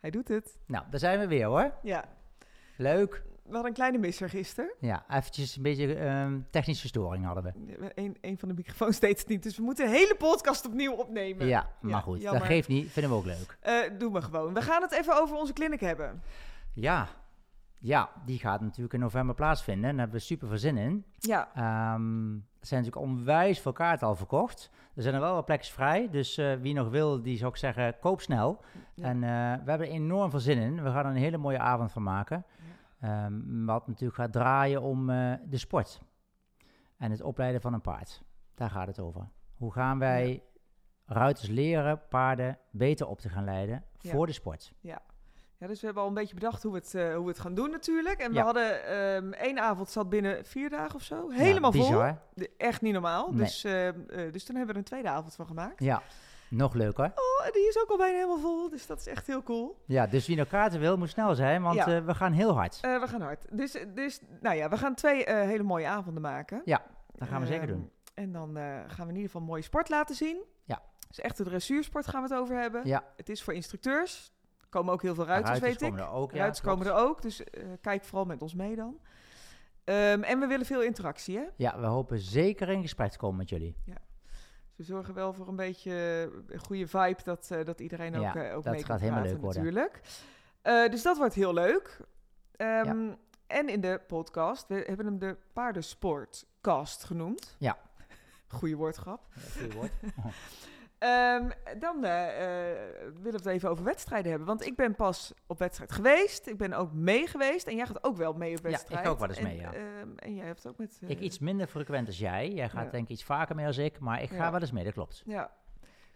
Hij doet het. Nou, daar zijn we weer hoor. Ja, Leuk. we hadden een kleine misser gisteren. Ja, eventjes een beetje ehm, technische storing hadden we. Eén een van de microfoons deed het niet, dus we moeten de hele podcast opnieuw opnemen. Ja, maar ja, goed, jammer. dat geeft niet. Vinden we ook leuk. Eh, doe maar gewoon. We gaan het even over onze clinic hebben. Ja. Ja, die gaat natuurlijk in november plaatsvinden. En daar hebben we super veel zin in. Ja, Ehm, er zijn natuurlijk onwijs veel kaarten al verkocht. Er zijn er wel wat plekjes vrij. Dus eh, wie nog wil, die zou ik zeggen, koop snel. Ja. En eh, we hebben er enorm veel zin in. We gaan er een hele mooie avond van maken. Ehm, wat natuurlijk gaat draaien om eh, de sport. En het opleiden van een paard. Daar gaat het over. Hoe gaan wij ruiters leren paarden beter op te gaan leiden Ja. voor de sport? ja dus we hebben al een beetje bedacht hoe we het, eh, hoe we het gaan doen natuurlijk. En we Ja. hadden ehm, één avond zat binnen vier dagen of zo. Helemaal ja, vol. bizar. De- Echt niet normaal. Nee. Dus, ehm, eh, dus toen hebben we er een tweede avond van gemaakt. Ja, nog leuker. Oh, en die is ook al bijna helemaal vol, dus dat is echt heel cool. Ja, dus wie nog kaarten wil, moet snel zijn, want Ja. eh, we gaan heel hard. Eh, we gaan hard. Dus, dus nou ja, we gaan twee eh, hele mooie avonden maken. Ja, dat gaan we zeker Ehm, doen. En dan eh, gaan we in ieder geval mooie sport laten zien. Ja. Dus echt de dressuursport gaan we het over hebben. Ja. Het is voor instructeurs. Er komen ook heel veel ruiters, weet ik. komen er ook. ja, ruiters klopt. komen er ook, dus eh, kijk vooral met ons mee dan. Ehm, en we willen veel interactie, hè? Ja, we hopen zeker in gesprek te komen met jullie. Dus we zorgen wel voor een beetje eh, een goede vibe dat, eh, dat iedereen ook, Ja, eh, ook dat mee gaat kan helemaal praten leuk worden. natuurlijk. Eh, dus dat wordt heel leuk. Ehm, En in de podcast, we hebben hem de paardensportcast genoemd. Ja. Goeie woordgrap. Goeie woord. Ehm, dan eh, eh, willen we het even over wedstrijden hebben. Want ik ben pas op wedstrijd geweest. Ik ben ook mee geweest. En jij gaat ook wel mee op Ja, ik wedstrijd. ga ook wel eens En, mee, ja. ehm, en jij hebt ook met... eh, Ik iets minder frequent als jij. Jij gaat Ja. denk ik iets vaker mee als ik, maar ik ga Ja. wel eens mee, dat klopt. Ja.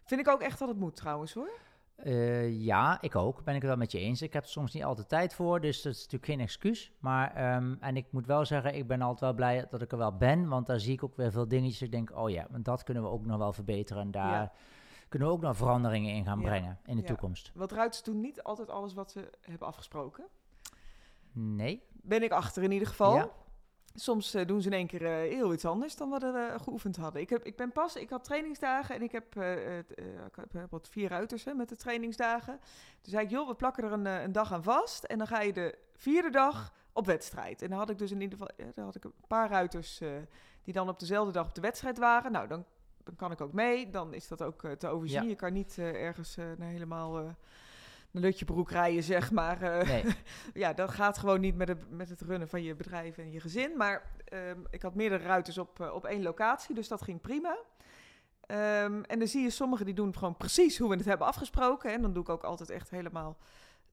Vind ik ook echt dat het moet trouwens hoor. Eh, ja, ik ook. Ben ik het wel met je eens. Ik heb er soms niet altijd tijd voor, dus dat is natuurlijk geen excuus. Maar, ehm, en ik moet wel zeggen, ik ben altijd wel blij dat ik er wel ben, want daar zie ik ook weer veel dingetjes. Ik denk, oh ja, want dat kunnen we ook nog wel verbeteren. En daar Ja. kunnen we ook nog veranderingen in gaan Ja. brengen in de Ja. toekomst. Want ruiters doen niet altijd alles wat ze hebben afgesproken. Nee. Ben ik achter in ieder geval. Ja. Soms eh, doen ze in één keer eh, heel iets anders dan wat we eh, geoefend hadden. Ik, heb, ik ben pas, ik had trainingsdagen en ik heb, eh, het, eh, ik heb, eh, wat vier ruiters hè, met de trainingsdagen. Toen zei ik, joh, we plakken er een, eh, een dag aan vast en dan ga je de vierde dag op wedstrijd. En dan had ik dus in ieder geval, ja, dan had ik een paar ruiters eh, die dan op dezelfde dag op de wedstrijd waren. Nou, dan, dan kan ik ook mee, dan is dat ook eh, te overzien. Ja. Je kan niet eh, ergens eh, naar helemaal... eh een lutje broek rijden, zeg maar. eh, Nee. ja, dat gaat gewoon niet met het, met het runnen van je bedrijf en je gezin. Maar ehm, ik had meerdere ruiters op, eh, op één locatie, dus dat ging prima. Ehm, en dan zie je sommigen die doen gewoon precies hoe we het hebben afgesproken. En dan doe ik ook altijd echt helemaal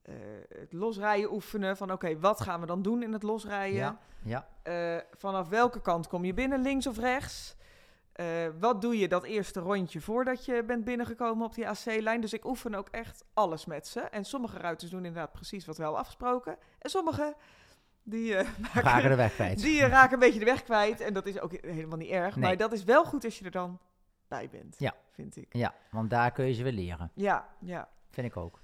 eh, het losrijden oefenen. Van oké, wat gaan we dan doen in het losrijden? Ja. Ja. Eh, vanaf welke kant kom je binnen, links of rechts? Eh, wat doe je dat eerste rondje voordat je bent binnengekomen op die AC-lijn? Dus ik oefen ook echt alles met ze. En sommige ruiters doen inderdaad precies wat we hadden afgesproken. En sommige die, eh, Vragen maken, de weg kwijt. die eh, raken een beetje de weg kwijt. En dat is ook helemaal niet erg. Nee. Maar dat is wel goed als je er dan bij bent, Ja. vind ik. Ja, want daar kun je ze weer leren. Ja, ja. Vind ik ook.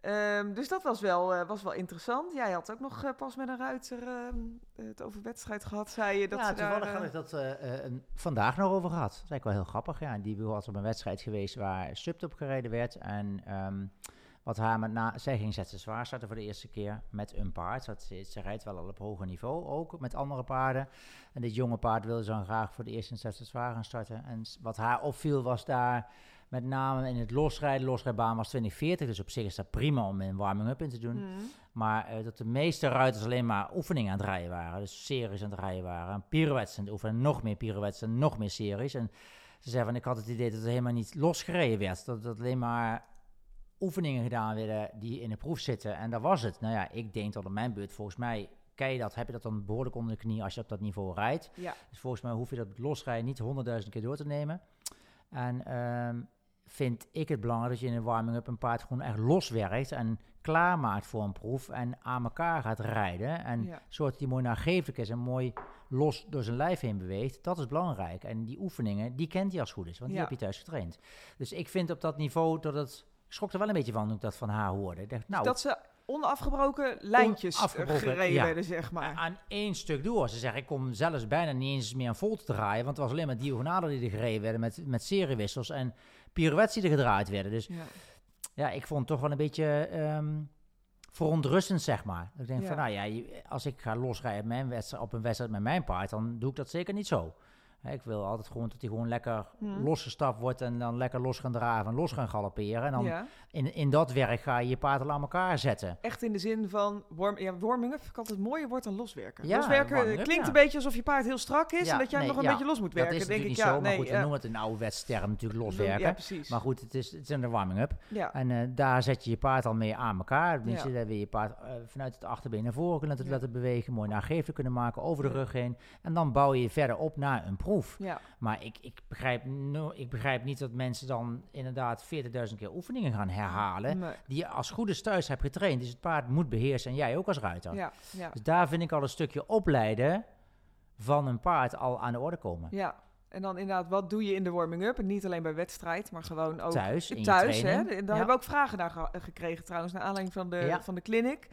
Ehm, dus dat was wel, eh, was wel interessant. Jij had ook nog eh, pas met een ruiter ehm, het over wedstrijd gehad, zei je. Dat ja, ze daar, toevallig eh, had ik dat eh, eh, een- vandaag nog over gehad. Dat is eigenlijk wel heel grappig. Ja. Die was op een wedstrijd geweest waar subt op gereden werd. En ehm, wat haar met na... Zij ging zetten zwaar starten voor de eerste keer met een paard. Dat, ze, ze rijdt wel al op hoger niveau, ook met andere paarden. En dit jonge paard wilde ze dan graag voor de eerste zetten zwaar gaan starten. En s- wat haar opviel was daar... Met name in het losrijden. Losrijdbaan was 2040, dus op zich is dat prima om een warming-up in te doen. Mhm. Maar eh, dat de meeste ruiters alleen maar oefeningen aan het rijden waren. Dus series aan het rijden waren. En pirouettes aan het oefenen. En nog meer pirouettes en nog meer series. En ze zei van, ik had het idee dat het helemaal niet losgereden werd. Dat, dat alleen maar oefeningen gedaan werden die in de proef zitten. En dat was het. Nou ja, ik denk dat op mijn beurt volgens mij... Kijk je dat, heb je dat dan behoorlijk onder de knie als je op dat niveau rijdt. Ja. Dus volgens mij hoef je dat losrijden niet honderdduizend keer door te nemen. En ehm, vind ik het belangrijk dat je in een warming-up een paard gewoon echt loswerkt en klaarmaakt voor een proef en aan elkaar gaat rijden. En Ja. zodat hij mooi nagevelijk is en mooi los door zijn lijf heen beweegt. Dat is belangrijk. En die oefeningen, die kent hij als het goed is, want Ja. die heb je thuis getraind. Dus ik vind op dat niveau dat het... Ik schrok er wel een beetje van toen ik dat van haar hoorde. Ik dacht, nou, dat ze onafgebroken lijntjes eh, Onafgebroken, gereden ja. werden, zeg maar. aan één stuk door. Ze zeggen, ik kom zelfs bijna niet eens meer een vol te draaien. Want het was alleen maar diagonalen die er gereden werden met, met seriewissels en pirouettes die er gedraaid werden. Dus Ja. ja, ik vond het toch wel een beetje ehm, verontrustend, zeg maar. Ik denk Ja. van, nou ja, je- als ik ga losrijden op, mijn wedstrijd, op een wedstrijd met mijn paard, dan doe ik dat zeker niet zo. Hè, Ik wil altijd gewoon dat hij gewoon lekker Mhm. losgestapt wordt en dan lekker los gaan draven en los gaan galopperen. En dan ja. in, in dat werk ga je je paard al aan elkaar zetten. Echt in de zin van warm, ja, warming up. Ik had het mooie woord dan loswerken. Ja, loswerken eh, warming up, klinkt ja. een beetje alsof je paard heel strak is Ja, en dat jij nee, nog een ja. beetje los moet werken. dat is denk natuurlijk ik, ja, niet zo, maar nee, goed, we ja. noemen het een ouderwetsterm natuurlijk loswerken. Ja, precies. Maar goed, het is, het is een warming-up. ja. En eh, daar zet je je paard al mee aan elkaar. Dan Ja. zit je weer je paard eh, vanuit het achterbeen naar voren kunnen laten, Ja. laten bewegen. Mooi naargeven kunnen maken, over de Ja. rug heen. En dan bouw je verder op naar een proef. ja, Maar ik, ik, begrijp, no- ik begrijp niet dat mensen dan inderdaad 40.000 keer oefeningen gaan herhalen. nee, Die je als goede thuis hebt getraind. Dus het paard moet beheersen en jij ook als ruiter. ja, ja, Dus daar vind ik al een stukje opleiden van een paard al aan de orde komen. ja. En dan inderdaad, wat doe je in de warming up? En niet alleen bij wedstrijd, maar gewoon ook Thuis, in je thuis hè? En training. daar Ja. hebben we ook vragen naar ge- gekregen trouwens, naar aanleiding van de, Ja. van de clinic.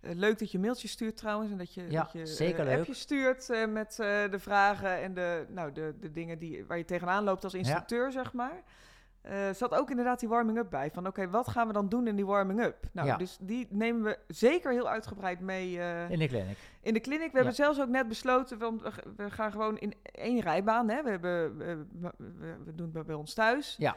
Eh, leuk dat je mailtjes stuurt trouwens en dat je, Ja, dat je zeker eh, leuk. appjes stuurt eh, met eh, de vragen en de, nou, de, de dingen die, waar je tegenaan loopt als instructeur, zeg maar. Eh zat ook inderdaad die warming-up bij. Van oké, wat gaan we dan doen in die warming-up? Nou, Ja. dus die nemen we zeker heel uitgebreid mee eh, In de clinic. in de kliniek, we Ja. hebben zelfs ook net besloten, want we, g- we gaan gewoon in één rijbaan. Hè? We, hebben, we, we- we doen het bij ons thuis. Ja. Eh,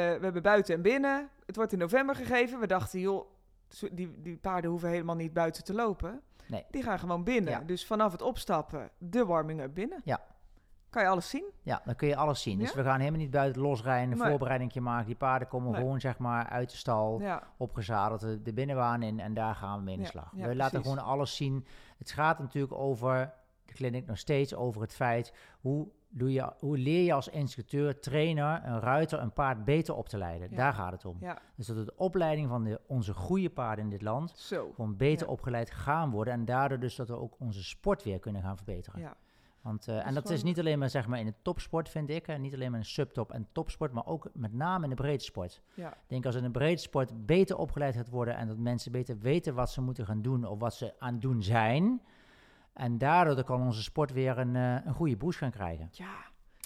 we hebben buiten en binnen. Het wordt in november gegeven. We dachten, joh, zo- die, die paarden hoeven helemaal niet buiten te lopen. Nee. Die gaan gewoon binnen. Ja. Dus vanaf het opstappen, de warming-up binnen. Ja. Kan je alles zien? Ja, dan kun je alles zien. Dus Ja? we gaan helemaal niet buiten losrijden, een Nee. voorbereidingje maken. Die paarden komen Nee. gewoon zeg maar uit de stal, Ja, opgezadeld eh, de, de binnenbaan in en daar gaan we mee in de Ja, slag. ja, we laten precies. gewoon alles zien. Het gaat natuurlijk over de kliniek nog steeds over het feit hoe, doe je, hoe leer je als instructeur, trainer, een ruiter een paard beter op te leiden. Ja. Daar gaat het om. ja. Dus dat de opleiding van de, onze goede paarden in dit land zo. gewoon beter Ja. opgeleid gaan worden en daardoor dus dat we ook onze sport weer kunnen gaan verbeteren. Ja. Want, eh, en is dat is gewoon- niet alleen maar, zeg maar in de topsport, vind ik. En niet alleen maar in subtop en topsport, maar ook met name in de breedsport. Ja. Ik denk als in de breedsport beter opgeleid gaat worden en dat mensen beter weten wat ze moeten gaan doen of wat ze aan het doen zijn. En daardoor dan kan onze sport weer een, eh, een goede boost gaan krijgen. ja,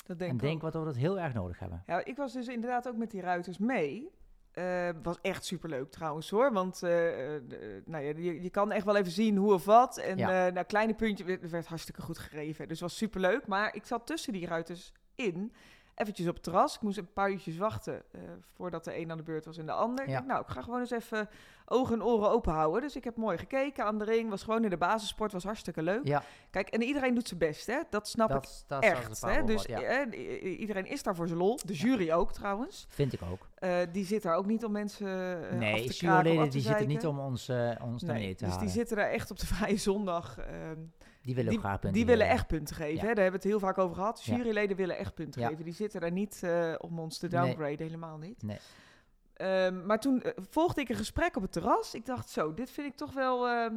dat denk en ik ook. denk wat we dat heel erg nodig hebben. Ja, ik was dus inderdaad ook met die ruiters mee. Eh, was echt superleuk trouwens hoor. Want eh, eh, de- nou ja, je, je kan echt wel even zien hoe of wat. En Ja. eh, nou, kleine puntje werd, werd hartstikke goed gegeven. Dus was superleuk. Maar ik zat tussen die ruiters in. Eventjes op het terras. Ik moest een paar uurtjes wachten eh, voordat de een aan de beurt was en de ander. Ik Ja. dacht, nou, ik ga gewoon eens even ogen en oren open houden. Dus ik heb mooi gekeken aan de ring. Was gewoon in de basissport. Was hartstikke leuk. Ja. Kijk, en iedereen doet zijn best hè. Dat snap ik Dat, dat is als echt. een Hè? paar Dus woorden, ja. eh, i- i- iedereen is daar voor zijn lol. De jury ook trouwens. Vind ik ook. Eh, die zit daar ook niet om mensen. eh, af te nee, kraken of af juryleden te die zitten zeiken. niet om ons, eh, ons naar Nee, beneden te dus die halen. zitten daar echt op de vrije zondag. ehm, die willen die, ook graag punten die willen leren. echt punten geven. Ja. Hè? Daar hebben we het heel vaak over gehad. Ja. Juryleden willen echt punten Ja. geven. Die zitten daar niet eh, om ons te Nee. downgraden, helemaal niet. Nee. Ehm, maar toen eh, volgde ik een gesprek op het terras. Ik dacht zo, dit vind ik toch wel... ehm,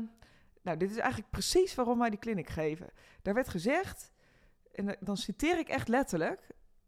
nou, dit is eigenlijk precies waarom wij die clinic geven. Daar werd gezegd, en dan- dan citeer ik echt letterlijk...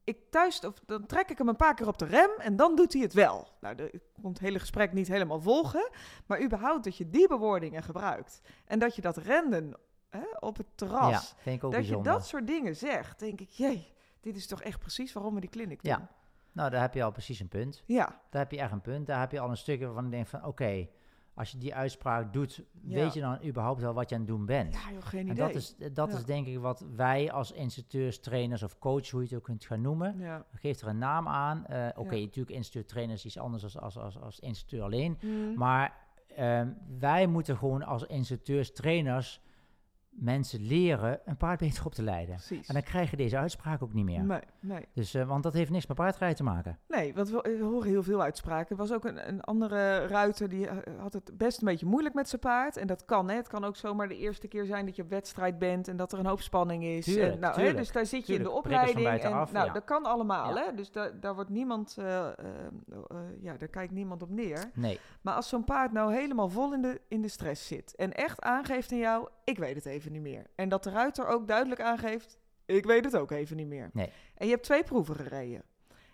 Ik thuis, of dan trek ik hem een paar keer op de rem en dan doet hij het wel. Nou, de, ik kon het hele gesprek niet helemaal volgen. Maar überhaupt dat je die bewoordingen gebruikt. En dat je dat renden hè, op het terras Ja, vind ik ook dat je bijzonder. dat soort dingen zegt, denk ik, jee, dit is toch echt precies waarom we die kliniek doen. Ja. Nou, daar heb je al precies een punt. Ja, Daar heb je echt een punt. Daar heb je al een stukje waarvan ik denk van... oké, als je die uitspraak doet... Ja. weet je dan überhaupt wel wat je aan het doen bent? ja joh, geen en idee. dat, is, dat Ja. is denk ik wat wij als instructeurs, trainers of coach... hoe je het ook kunt gaan noemen... Ja. geeft er een naam aan. Eh, oké, Ja. natuurlijk instructeur, trainer is iets anders als, als, als, als instructeur alleen. Mm. Maar ehm, wij moeten gewoon als instructeurs, trainers... mensen leren een paard beter op te leiden. Precies. En dan krijg je deze uitspraak ook niet meer. Nee, nee. Dus, eh, want dat heeft niks met paardrijden te maken. nee, want we we horen heel veel uitspraken. Er was ook een, een andere ruiter die eh, had het best een beetje moeilijk met zijn paard. En dat kan, hè. Het kan ook zomaar de eerste keer zijn dat je op wedstrijd bent en dat er een hoop spanning is. Tuurlijk, en, nou, tuurlijk, dus daar zit je in de tuurlijk. Prikkels van opleiding. En, buitenaf, nou, ja. dat kan allemaal, Ja. hè. Dus da- daar wordt niemand, eh, eh, eh, ja, daar kijkt niemand op neer. Nee. Maar als zo'n paard nou helemaal vol in de, in de stress zit en echt aangeeft aan jou, ik weet het even niet meer. En dat de ruiter ook duidelijk aangeeft, ik weet het ook even niet meer. Nee. En je hebt twee proeven gereden.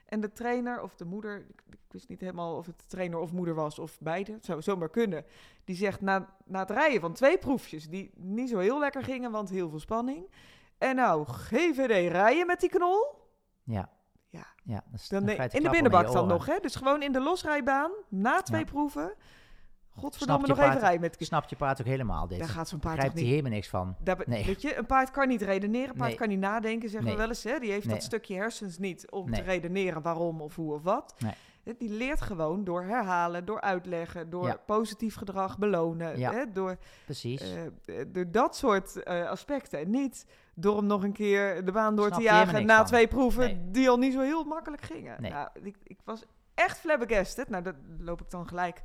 En de trainer of de moeder, ik, ik wist niet helemaal of het trainer of moeder was of beide, het zou zomaar kunnen. Die zegt na, na het rijden van twee proefjes, die niet zo heel lekker gingen, want heel veel spanning. En nou, GVD rijden met die knol. Ja. Ja. ja dat is- Dan dan nee, ga je te in de klappen met binnenbak je dan oren. nog, hè? Dus gewoon in de losrijbaan, na twee Ja. proeven. godverdomme Snap je nog even paard- rijden met Ik kies. snap je paard ook helemaal dit. Daar gaat zo'n paard toch Begrijpt hij niet... helemaal niks van. Daar, be- Nee. Weet je, een paard kan niet redeneren, een paard Nee. kan niet nadenken, zeggen Nee. we wel eens. Hè? Die heeft Nee. dat stukje hersens niet om Nee. te redeneren waarom of hoe of wat. Nee. Het- Die leert gewoon door herhalen, door uitleggen, door Ja. positief gedrag belonen, Ja. hè? Door, Precies. eh, eh, door dat soort eh, aspecten. En niet door hem nog een keer de baan door Snap te je helemaal jagen niks na van. twee proeven Nee. die al niet zo heel makkelijk gingen. Nee. Nou, ik, ik was echt flabbergasted. Nou, dat loop ik dan gelijk.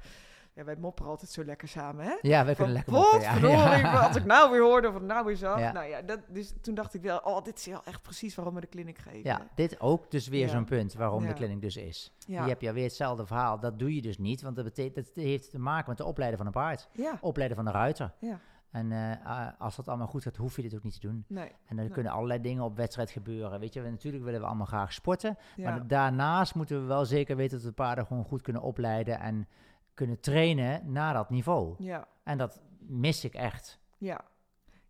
Ja, wij mopperen altijd zo lekker samen, hè? ja, we Van, kunnen lekker moppen. Ja, potverdorie, ja. wat ik nou weer hoorde of wat ik nou weer zag. Ja. Nou ja, dat, dus toen dacht ik wel, oh, dit is heel echt precies waarom we de kliniek geven. Ja, dit ook dus weer Ja. zo'n punt waarom de Ja. kliniek dus is. ja. Je hebt ja weer hetzelfde verhaal. Dat doe je dus niet, want dat, betekent, dat heeft te maken met de opleiden van een paard. Ja. Opleiden van een ruiter. Ja. En eh, a- als dat allemaal goed gaat, hoef je dit ook niet te doen. nee. En dan Nee. kunnen allerlei dingen op wedstrijd gebeuren. Weet je, we- natuurlijk willen we allemaal graag sporten. Ja. Maar daarnaast moeten we wel zeker weten dat we paarden gewoon goed kunnen opleiden en kunnen trainen naar dat niveau. ja. En dat mis ik echt. Ja.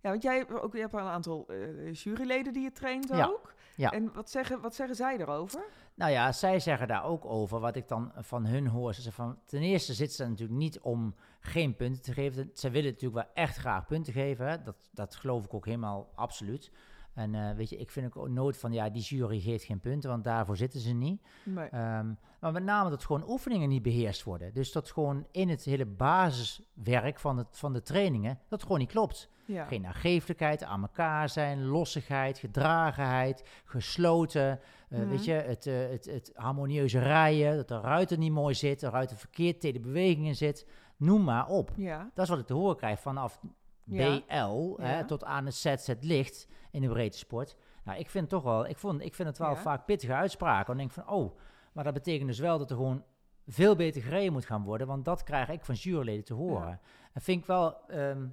Ja, want jij hebt ook je hebt al een aantal eh, juryleden die je traint Ja, ook. ja. En wat zeggen, wat zeggen zij erover? Nou ja, zij zeggen daar ook over. Wat ik dan van hun hoor. Ze zeggen van, ten eerste zitten ze er natuurlijk niet om geen punten te geven. Ze willen natuurlijk wel echt graag punten geven. Hè. Dat, dat geloof ik ook helemaal absoluut. En eh, weet je, ik vind ook nooit van ja, die jury geeft geen punten, want daarvoor zitten ze niet. Nee. Ehm, maar met name dat gewoon oefeningen niet beheerst worden. Dus dat gewoon in het hele basiswerk van, het, van de trainingen, dat gewoon niet klopt. Ja. Geen nageeflijkheid, aan elkaar zijn, lossigheid, gedragenheid, gesloten. eh, Mhm. Weet je, het, eh, het, het harmonieuze rijden, dat de ruiter niet mooi zit, de ruiter verkeerd tegen de bewegingen zit. Noem maar op. Ja. Dat is wat ik te horen krijg vanaf Ja. BL hè, Ja. tot aan het ZZ licht in de breedte sport. Nou, ik vind, toch wel, ik vond, ik vind het wel Ja. vaak pittige uitspraken. Dan denk ik van, oh, maar dat betekent dus wel dat er gewoon veel beter gereden moet gaan worden. Want dat krijg ik van juryleden te horen. Ja. Dat vind ik wel ehm,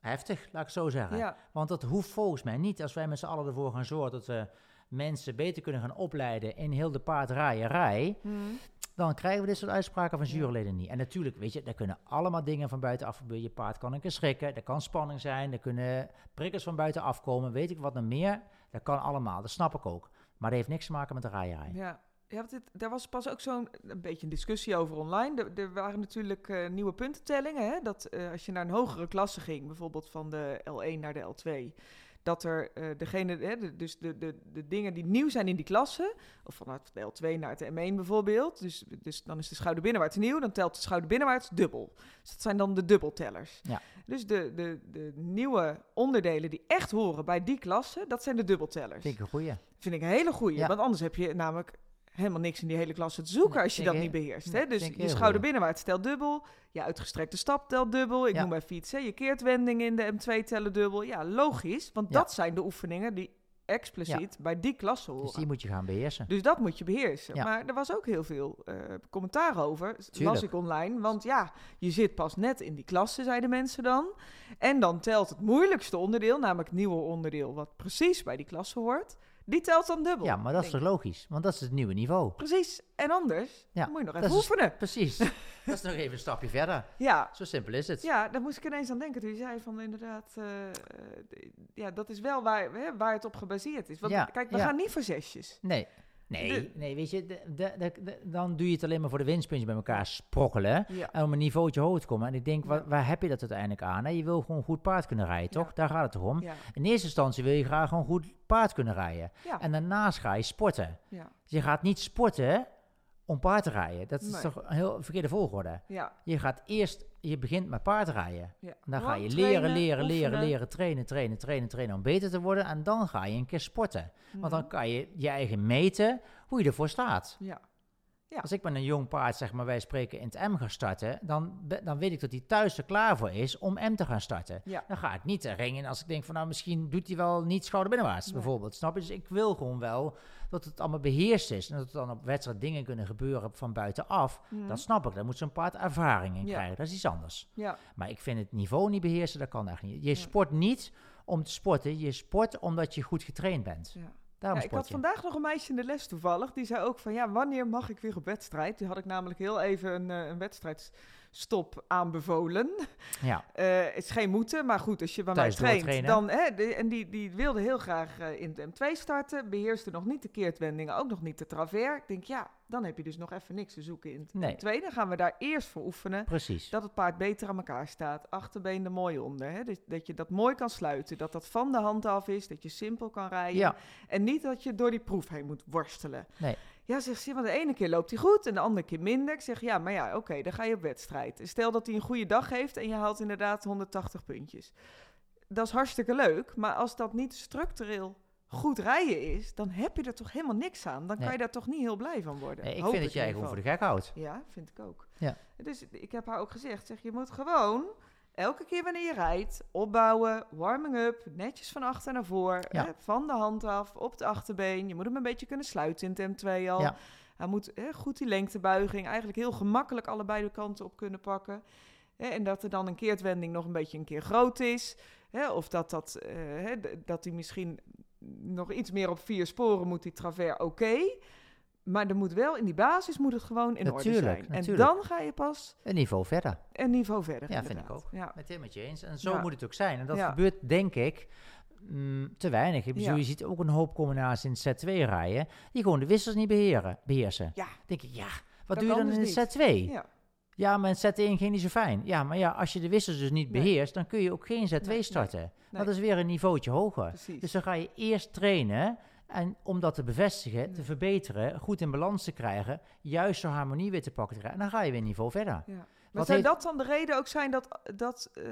heftig, laat ik het zo zeggen. Ja. Want dat hoeft volgens mij niet als wij met z'n allen ervoor gaan zorgen dat we mensen beter kunnen gaan opleiden in heel de paardrijerij. Mhm. Dan krijgen we dit soort uitspraken van Ja. juryleden niet. En natuurlijk, weet je, daar kunnen allemaal dingen van buitenaf gebeuren. Je paard kan een keer schrikken, er kan spanning zijn, er kunnen prikkels van buitenaf komen, weet ik wat nog meer. Dat kan allemaal, dat snap ik ook. Maar dat heeft niks te maken met de rijerij. Ja. Ja, want dit, daar was pas ook zo'n een beetje een discussie over online. Er, er waren natuurlijk eh, nieuwe puntentellingen. Hè? Dat eh, als je naar een hogere klasse ging, bijvoorbeeld van de L1 naar de L2, dat er eh, degene, hè, de, dus de, de, de dingen die nieuw zijn in die klasse, of vanuit de L2 naar het M1 bijvoorbeeld, dus, dus dan is de schouder binnenwaarts nieuw, dan telt de schouder binnenwaarts dubbel. Dus dat zijn dan de dubbeltellers. Ja. Dus de, de, de nieuwe onderdelen die echt horen bij die klasse, dat zijn de dubbeltellers. Vind ik een goeie. Vind ik een hele goede. Ja. Want anders heb je namelijk helemaal niks in die hele klasse te zoeken Nee, als je vind dat ik niet heel- beheerst. nee, Hè? Dus vind ik je heel schouder goed. binnenwaarts telt dubbel. Je uitgestrekte stap telt dubbel. Ik Ja. noem maar fiets. Hè? Je keertwending in de M2 tellen dubbel. Ja, logisch. Want Ja. dat zijn de oefeningen die expliciet bij die klasse horen. Dus Dus, die moet je gaan beheersen. dat moet je beheersen. Ja. Maar er was ook heel veel eh, commentaar over. s- Tuurlijk. Las ik online. Want ja, je zit pas net in die klasse, zeiden mensen dan. En dan telt het moeilijkste onderdeel, namelijk het nieuwe onderdeel, wat precies bij die klasse hoort. Die telt dan dubbel. Ja, maar dat is Denk toch logisch? Want dat is het nieuwe niveau. Precies. En anders Ja, moet je nog dat even is- oefenen. Precies. dat is nog even een stapje verder. Ja. Zo simpel is het. ja, daar moest ik ineens aan denken toen je zei van inderdaad... eh, eh, d- ja, dat is wel waar, hè, waar het op gebaseerd is. Want Ja, kijk, we ja. gaan niet voor zesjes. Nee. Nee, De- nee, weet je, de- de- de- de- dan doe je het alleen maar voor de winstpuntjes bij elkaar sprokkelen. Ja. En om een niveautje hoger te komen. En ik denk, wa- Ja. waar, heb je dat uiteindelijk aan? hè? Je wil gewoon goed paard kunnen rijden, toch? Ja. Daar gaat het toch om? Ja, In eerste instantie wil je graag gewoon goed paard kunnen rijden. Ja. En daarnaast ga je sporten. ja, Dus je gaat niet sporten om paard te rijden. Dat is Nee. toch een heel verkeerde volgorde. ja. Je gaat eerst, je begint met paardrijden. ja. En dan ga Gewoon je trainen, leren, leren, leren, oefenen. leren, trainen, trainen, trainen, trainen om beter te worden. En dan ga je een keer sporten. Want dan Mhm. kan je je eigen meten hoe je ervoor staat. Ja, Als ik met een jong paard, zeg maar, wij spreken in het M gaan starten, dan, be- dan weet ik dat hij thuis er klaar voor is om M te gaan starten. Ja. Dan ga ik niet de ring in als ik denk van, nou, misschien doet hij wel niet schouder binnenwaarts, Nee. bijvoorbeeld. Snap je? Dus ik wil gewoon wel dat het allemaal beheerst is en dat er dan op wedstrijd dingen kunnen gebeuren van buitenaf. Mhm. Dat snap ik. Daar moet zo'n paard ervaring in Ja. krijgen. Dat is iets anders. ja, Maar ik vind het niveau niet beheersen, dat kan echt niet. Je Nee. sport niet om te sporten. Je sport omdat je goed getraind bent. ja. Daarom Ja, ik sport had je. vandaag nog een meisje in de les toevallig. Die zei ook van ja, wanneer mag ik weer op wedstrijd? Die had ik namelijk heel even een, eh, een wedstrijd stop aanbevolen. Ja, Eh, het is geen moeten, maar goed, als je bij mij Thuis traint, doortrainen. dan... Hè, de- en die, die wilde heel graag eh, in de M2 starten, beheerste nog niet de keertwendingen, ook nog niet de travers. Ik denk, ja, dan heb je dus nog even niks te zoeken in het nee, M2. Dan gaan we daar eerst voor oefenen precies. dat het paard beter aan elkaar staat, achterbeen er mooi onder. Hè? Dus dat je dat mooi kan sluiten, dat dat van de hand af is, dat je simpel kan rijden. Ja, En niet dat je door die proef heen moet worstelen. Nee. Ja, zegt ze, want de ene keer loopt hij goed en de andere keer minder. Ik zeg, ja, maar ja, oké, dan ga je op wedstrijd. Stel dat hij een goede dag heeft en je haalt inderdaad 180 puntjes. Dat is hartstikke leuk, maar als dat niet structureel goed rijden is, dan heb je er toch helemaal niks aan. Dan kan Nee. je daar toch niet heel blij van worden. nee, ik Hoop vind dat in jij ieder gewoon geval. voor de gek houdt. Ja, vind ik ook. Ja. Dus ik heb haar ook gezegd, zeg, je moet gewoon elke keer wanneer je rijdt, opbouwen, warming up, netjes van achter naar voor, Ja. hè, van de hand af, op de achterbeen. Je moet hem een beetje kunnen sluiten in het M2 al. Ja. Hij moet hè, goed die lengtebuiging eigenlijk heel gemakkelijk allebei de kanten op kunnen pakken. Hè, en dat er dan een keertwending nog een beetje een keer groot is. Hè, of dat, dat, eh, hè, d- dat hij misschien nog iets meer op vier sporen moet, die travers, oké. Maar er moet wel in die basis moet het gewoon in orde Natuurlijk, zijn. natuurlijk. En dan ga je pas Een niveau verder. een niveau verder. Ja, vind ik inderdaad. ook. Ja. Meteen met je eens. En zo Ja. moet het ook zijn. En dat Ja. gebeurt, denk ik, mm, te weinig. Ik bedoel, Ja. Je ziet ook een hoop combinaties in het set 2 rijden, die gewoon de wissels niet beheren, beheersen. Ja. denk ik, ja, Dat wat doe je kan dan in dus het set 2? Ja. Ja. maar in set 1 ging niet zo fijn. Ja, maar ja, als je de wissels dus niet Nee. beheerst, dan kun je ook geen set 2 Nee, starten. Want dat is weer een niveautje hoger. precies. Dus dan ga je eerst trainen. En om dat te bevestigen, te Ja. verbeteren, goed in balans te krijgen, juist zo harmonie weer te pakken te krijgen. En dan ga je weer een niveau verder. Ja. Maar eh, Wat zou heeft- dat dan de reden ook zijn dat, dat eh,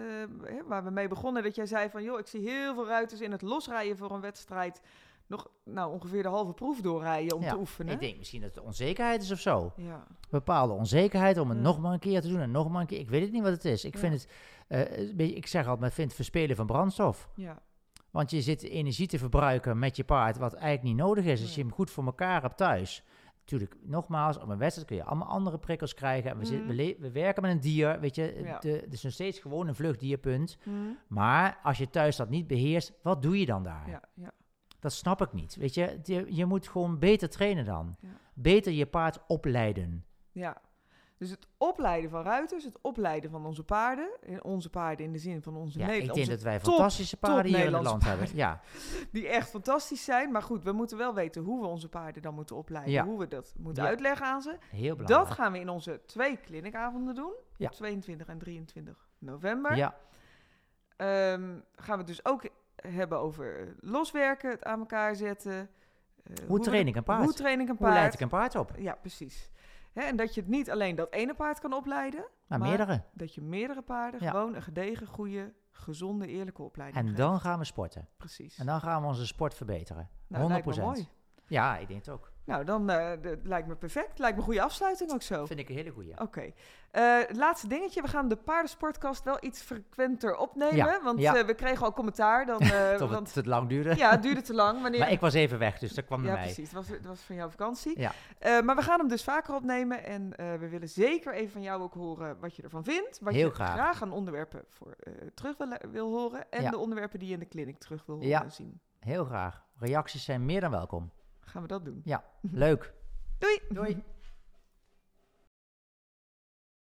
hè, waar we mee begonnen, dat jij zei van joh, ik zie heel veel ruiters in het losrijden voor een wedstrijd nog nou, ongeveer de halve proef doorrijden om Ja, te oefenen? Ik denk misschien dat het onzekerheid is of zo. Ja, bepaalde onzekerheid om het Ja. nog maar een keer te doen en nog maar een keer. Ik weet het niet wat het is. Ik Ja. vind het, eh, een beetje- ik zeg altijd, maar ik vind het verspelen van brandstof. ja, Want je zit energie te verbruiken met je paard, wat eigenlijk niet nodig is. Als Ja. je hem goed voor elkaar hebt thuis. Natuurlijk, nogmaals, op een wedstrijd kun je allemaal andere prikkels krijgen. En we, zitten- we, Mhm. le- we werken met een dier, weet je. Ja. De, het is nog steeds gewoon een vluchtdierpunt. Hm, Maar als je thuis dat niet beheerst, wat doe je dan daar? ja, ja, Dat snap ik niet, weet je. Je, je moet gewoon beter trainen dan. Ja. Beter je paard opleiden. ja. Dus het opleiden van ruiters, het opleiden van onze paarden, eh, onze paarden in de zin van onze Ja, ik Nederlandse denk dat wij Dus top- fantastische paarden hier in het land Nederlandse hebben. Ja, die echt fantastisch zijn. Maar goed, we moeten wel weten hoe we onze paarden dan moeten opleiden. Ja. Hoe we dat moeten Ja. uitleggen aan ze. heel belangrijk. Dat gaan we in onze twee clinicavonden doen. Ja. 22 en 23 november. Ja, Ehm, gaan we het dus ook hebben over eh, loswerken, het aan elkaar zetten. eh, hoe we train de- ik een paard? Hoe Hoe, train ik een paard? leid ik een paard op? Nou, Ja, precies. Hè, en dat je het niet alleen dat ene paard kan opleiden. Maar Maar- meerdere. Dat je meerdere paarden Ja. gewoon een gedegen, goede, gezonde, eerlijke opleiding En geeft. dan gaan we sporten. Precies. En dan gaan we onze sport verbeteren. nou, lijkt me 100%. mooi. Ja, ik denk het ook. Nou, dan eh, d- lijkt me perfect. Lijkt me een goede afsluiting ook Oh, zo. Dat vind ik een hele goeie. Oké. Eh, laatste dingetje. We gaan de paardensportkast wel iets frequenter opnemen. Ja, want ja. eh, we kregen al commentaar. Dan, eh, Tot want, het te lang duurde. ja, het duurde te lang. Wanneer... Maar ik was even weg, dus dat kwam ja, bij mij. precies. Het was, het was van jouw vakantie. Ja. Eh, maar we gaan hem dus vaker opnemen. En eh, we willen zeker even van jou ook horen wat je ervan vindt. Wat Heel je graag. aan onderwerpen voor, eh, terug wil, wil horen. En Ja. de onderwerpen die je in de clinic terug wil horen Ja. en zien. Heel graag. Reacties zijn meer dan welkom. Gaan we dat doen. Leuk. Doei! Doei.